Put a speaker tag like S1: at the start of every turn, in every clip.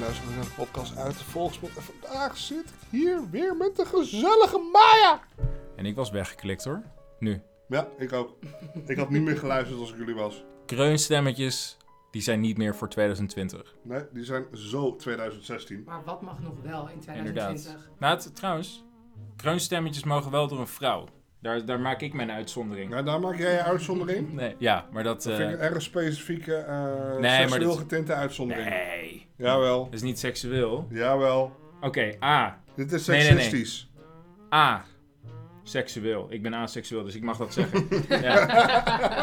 S1: luisteren naar de podcast uit de Volksmond. En vandaag zit ik hier weer met de gezellige Maya.
S2: En ik was weggeklikt hoor. Nu.
S1: Ja, ik ook. Ik had niet meer geluisterd als ik jullie was.
S2: Kreunstemmetjes, die zijn niet meer voor 2020.
S1: Nee, die zijn zo 2016.
S3: Maar wat mag nog wel in 2020?
S2: Inderdaad. Nou, het- trouwens, kreunstemmetjes mogen wel door een vrouw. Daar, daar maak ik mijn uitzondering.
S1: Nou, daar maak jij je uitzondering.
S2: Nee, ja, maar dat...
S1: Dat
S2: eh,
S1: vind ik een erg specifieke, eh
S2: Nee, maar
S1: seksueel
S2: dit-
S1: getinte uitzondering.
S2: eh, nee,
S1: Jawel,
S2: dat is niet seksueel.
S1: jawel.
S2: Oké, A.
S1: Dit is
S2: Nee, nee, nee.
S1: seksistisch.
S2: A. Seksueel. Ik ben aseksueel, dus ik mag dat zeggen. ja.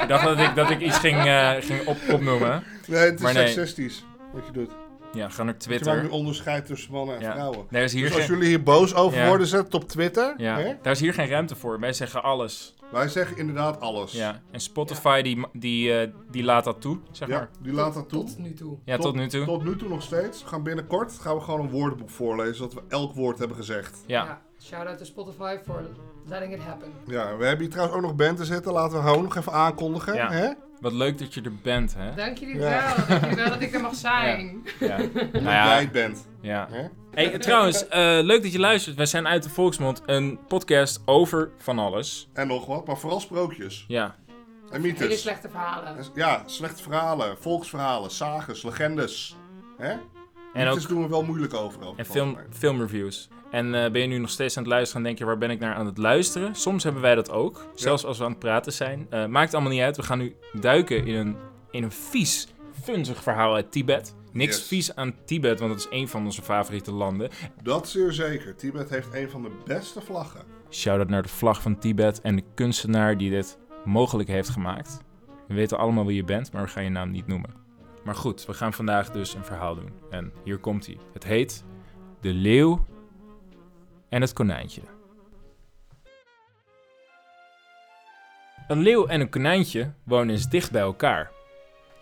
S2: Ik dacht dat ik, dat ik iets ging, eh, ging op, opnoemen.
S1: nee, het is
S2: Maar nee.
S1: seksistisch wat je doet.
S2: Ja, ga naar
S1: Je maakt nu
S2: Twitter.
S1: onderscheid tussen mannen en
S2: Ja.
S1: vrouwen.
S2: Daar is hier
S1: Dus als
S2: geen,
S1: jullie hier boos over
S2: Ja.
S1: worden, zet het op Twitter. Hè?
S2: ja, daar is hier geen ruimte voor. Wij zeggen alles.
S1: Wij zeggen inderdaad alles.
S2: Ja, en Spotify die, die, eh, die laat dat toe, zeg
S1: Ja,
S2: maar.
S1: die laat dat toe.
S3: Tot nu toe.
S2: Ja, tot, nu toe.
S1: Tot nu toe nog steeds. We gaan binnenkort gaan we gewoon een woordenboek voorlezen, zodat we elk woord hebben gezegd.
S2: Ja.
S3: Shout out to Spotify for letting it happen.
S1: Ja, we hebben hier trouwens ook nog band te zitten. Laten we gewoon nog even aankondigen.
S2: Ja.
S1: Hè?
S2: wat leuk dat je er bent, hè?
S3: Dank jullie
S1: Ja.
S3: wel. Dank jullie wel dat ik er mag zijn.
S2: Ja. nou
S1: Dat jij
S2: ja,
S1: het bent.
S2: ja.
S1: Hè?
S2: Hey, trouwens, eh, leuk dat je luistert. Wij zijn uit de Volksmond een podcast over van alles.
S1: En nog wat, maar vooral sprookjes.
S2: Ja,
S1: En
S3: Hele
S1: mythes. Dus,
S3: slechte verhalen.
S1: Ja, slechte verhalen, volksverhalen, sages, legendes. Hè?
S2: en
S1: mythes
S2: ook
S1: doen we wel moeilijk over. over
S2: en
S1: het
S2: film,
S1: algemeen.
S2: filmreviews. En eh, ben je nu nog steeds aan het luisteren en denk je, waar ben ik naar aan het luisteren? Soms hebben wij dat ook, zelfs als we aan het praten zijn. Eh, maakt allemaal niet uit, we gaan nu duiken in een, in een vies, funzig verhaal uit Tibet. Niks
S1: Yes.
S2: vies aan Tibet, want dat is een van onze favoriete landen.
S1: Dat zeer zeker. Tibet heeft een van de beste vlaggen.
S2: Shout-out naar de vlag van Tibet en de kunstenaar die dit mogelijk heeft gemaakt. We weten allemaal wie je bent, maar we gaan je naam niet noemen. Maar goed, we gaan vandaag dus een verhaal doen. En hier komt hij. Het heet De Leeuw en het Konijntje. Een leeuw en een konijntje wonen eens dicht bij elkaar.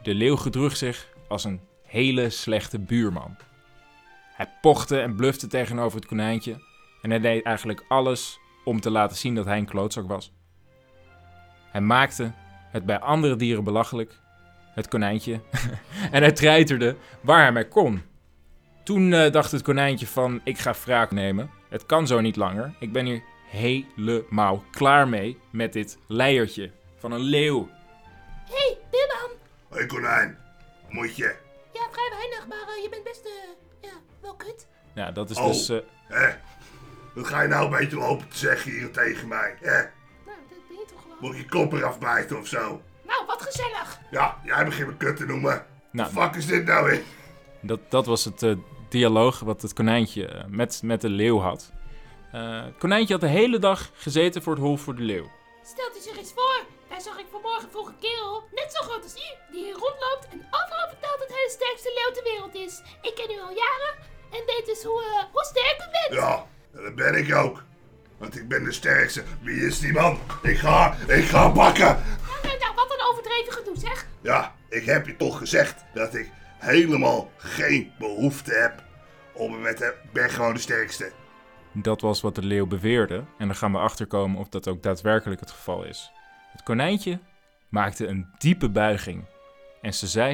S2: De leeuw gedroeg zich als een hele slechte buurman. Hij pochte en blufte tegenover het konijntje en hij deed eigenlijk alles om te laten zien dat hij een klootzak was. Hij maakte het bij andere dieren belachelijk, het konijntje, en hij treiterde waar hij maar kon. Toen eh, dacht het konijntje van, ik ga wraak nemen. Het kan zo niet langer. Ik ben hier helemaal klaar mee met dit leiertje van een leeuw.
S4: Hé, hey, Bimam.
S1: Hé konijn, moet je.
S4: Ja, vrij weinig, maar eh, je bent best eh, ja, wel kut.
S2: Nou, dat is
S1: Oh.
S2: dus... eh,
S1: Hé, wat ga je nou een beetje lopen te zeggen hier tegen mij? Hé,
S4: Nou, dat ben je toch gewoon.
S1: moet je kop eraf bijten of zo?
S4: Nou, wat gezellig.
S1: Ja, jij begint me kut te noemen.
S2: nou,
S1: Fuck is dit nou weer?
S2: Dat, dat was het eh, dialoog wat het konijntje eh, met, met de leeuw had. Eh, het konijntje had de hele dag gezeten voor het hol voor de leeuw.
S4: Stelt u zich eens voor. Daar zag ik vanmorgen vroeg een kerel, net zo groot als u, die hier rondloopt en overal vertelt dat hij de sterkste leeuw ter wereld is. Ik ken u al jaren en weet dus hoe, eh, hoe sterk u bent.
S5: Ja, dat ben ik ook. Want ik ben de sterkste. Wie is die man? Ik ga, ik ga bakken.
S4: Nou, nou, wat een overdreven gedoe, zeg.
S5: Ja, ik heb je toch gezegd dat ik helemaal geen behoefte heb om me met te... Ik ben gewoon de sterkste.
S2: Dat was wat de leeuw beweerde. En dan gaan we achterkomen of dat ook daadwerkelijk het geval is. Het konijntje maakte een diepe buiging. En ze zei...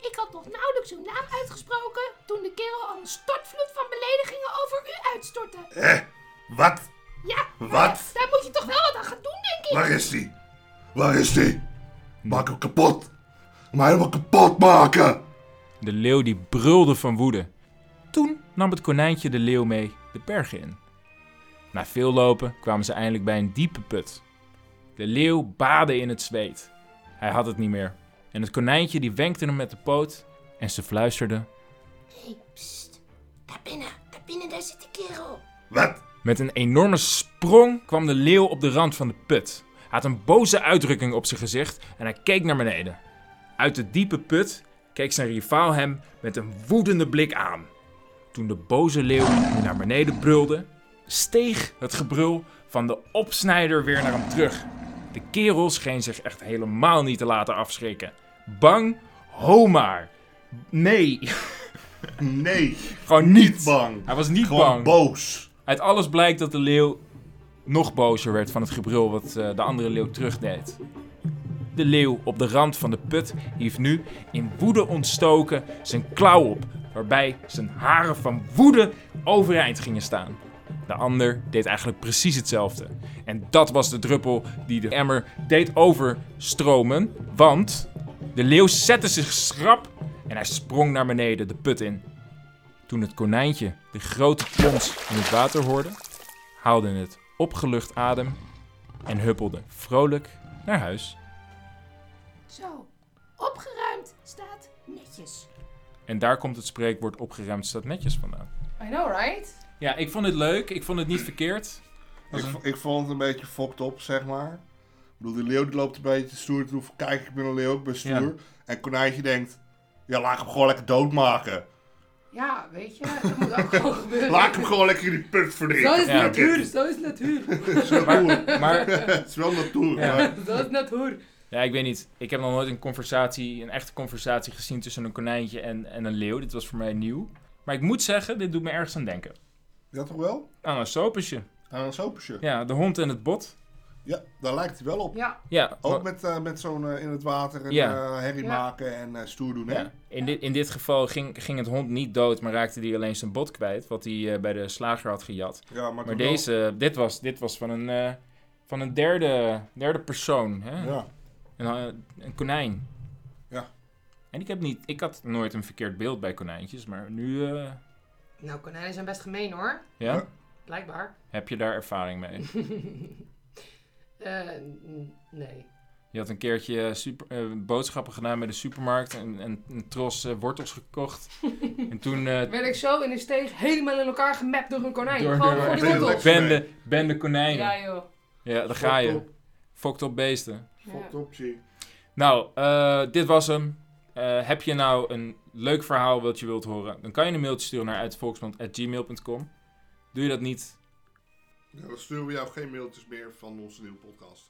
S4: Ik had nog nauwelijks uw naam uitgesproken toen de kerel al een stortvloed van beledigingen over u uitstortte.
S5: Hé, wat?
S4: Ja,
S5: Wat?
S4: daar moet je toch wel wat aan gaan doen, denk ik.
S5: Waar is die? Waar is die? Maak hem kapot. Maar helemaal kapot maken.
S2: De leeuw die brulde van woede. Toen nam het konijntje de leeuw mee de bergen in. Na veel lopen kwamen ze eindelijk bij een diepe put. De leeuw baadde in het zweet. Hij had het niet meer. En het konijntje die wenkte hem met de poot en ze fluisterde.
S4: Hé, psst. Daar binnen, daar binnen, daar zit de kerel.
S5: Wat?
S2: Met een enorme sprong kwam de leeuw op de rand van de put. Hij had een boze uitdrukking op zijn gezicht en hij keek naar beneden. Uit de diepe put keek zijn rivaal hem met een woedende blik aan. Toen de boze leeuw weer naar beneden brulde, steeg het gebrul van de opsnijder weer naar hem terug. De kerel scheen zich echt helemaal niet te laten afschrikken. Bang, ho maar. Nee,
S5: Nee,
S2: gewoon niet.
S5: bang.
S2: Hij was niet
S5: Gewoon
S2: bang.
S5: boos.
S2: Uit alles blijkt dat de leeuw nog bozer werd van het gebrul wat eh, de andere leeuw terugdeed. De leeuw op de rand van de put hief nu, in woede ontstoken, zijn klauw op, waarbij zijn haren van woede overeind gingen staan. De ander deed eigenlijk precies hetzelfde. En dat was de druppel die de emmer deed overstromen, want de leeuw zette zich schrap en hij sprong naar beneden de put in. Toen het konijntje de grote plons in het water hoorde, haalde het opgelucht adem en huppelde vrolijk naar huis.
S4: Zo, opgeruimd staat netjes.
S2: En daar komt het spreekwoord opgeruimd staat netjes vandaan.
S3: I know, right?
S2: Ja, ik vond het leuk. Ik vond het niet verkeerd.
S1: Ik, vo- ik vond het een beetje fokt op, zeg maar. Ik bedoel, die leeuw die loopt een beetje stoer te doen. van, Kijk, ik ben een leeuw, ik ben stoer.
S2: Ja.
S1: En konijntje denkt, ja, laat ik hem gewoon lekker doodmaken.
S3: Ja, weet je, dat moet ook gewoon gebeuren.
S1: Laat ik hem gewoon lekker in die put verdienen.
S3: Zo is
S2: Ja.
S3: natuur, zo is natuur.
S1: Het is natuur.
S2: Maar
S1: Het is wel natuur.
S2: Ja.
S1: maar-
S3: Zo is natuur.
S2: ja, ik weet niet. Ik heb nog nooit een conversatie, een echte conversatie gezien tussen een konijntje en, en een leeuw. Dit was voor mij nieuw. Maar ik moet zeggen, dit doet me ergens aan denken.
S1: Ja, toch wel?
S2: Aan een sopertje.
S1: Aan een sopertje. Ja.
S2: Ja, de hond en het bot.
S1: daar lijkt hij wel op.
S3: Ja,
S2: Ja,
S1: Ook met, eh, met zo'n eh, in het water en
S2: Ja.
S1: eh, herrie
S3: Ja.
S1: maken en eh, stoer doen, hè?
S2: Ja. In, dit, in dit geval ging, ging het hond niet dood, maar raakte hij alleen zijn bot kwijt. Wat hij eh, bij de slager had gejat.
S1: Ja, maar,
S2: Maar
S1: toch wel-
S2: deze, dit was, dit was van een, eh, van een derde, derde persoon. Hè?
S1: Ja.
S2: Een, eh, een konijn.
S1: Ja.
S2: En ik, heb niet, ik had nooit een verkeerd beeld bij konijntjes, maar nu. eh,
S3: nou konijnen zijn best gemeen hoor,
S2: ja?
S1: Ja.
S3: blijkbaar.
S2: Heb je daar ervaring mee?
S3: Eh, n- nee.
S2: Je had een keertje eh, super, eh, boodschappen gedaan bij de supermarkt en, en een tros eh, wortels gekocht. en toen eh
S3: Werd ik zo in de steeg helemaal in elkaar gemapt door een konijn.
S2: door
S3: gewoon voor die
S1: Heel
S3: wortels.
S1: lekker.
S2: bende, bende konijnen.
S3: Ja
S2: Ja,
S3: joh.
S2: daar ga je.
S1: Fokt op,
S2: Fokt op beesten.
S1: fokt op, zie.
S2: Nou, eh, dit was hem. Eh, heb je nou een leuk verhaal wat je wilt horen? Dan kan je een mailtje sturen naar uitvolksmond.gmail.com. Doe je dat niet?
S1: Ja, dan sturen we jou geen mailtjes meer van onze nieuwe podcast.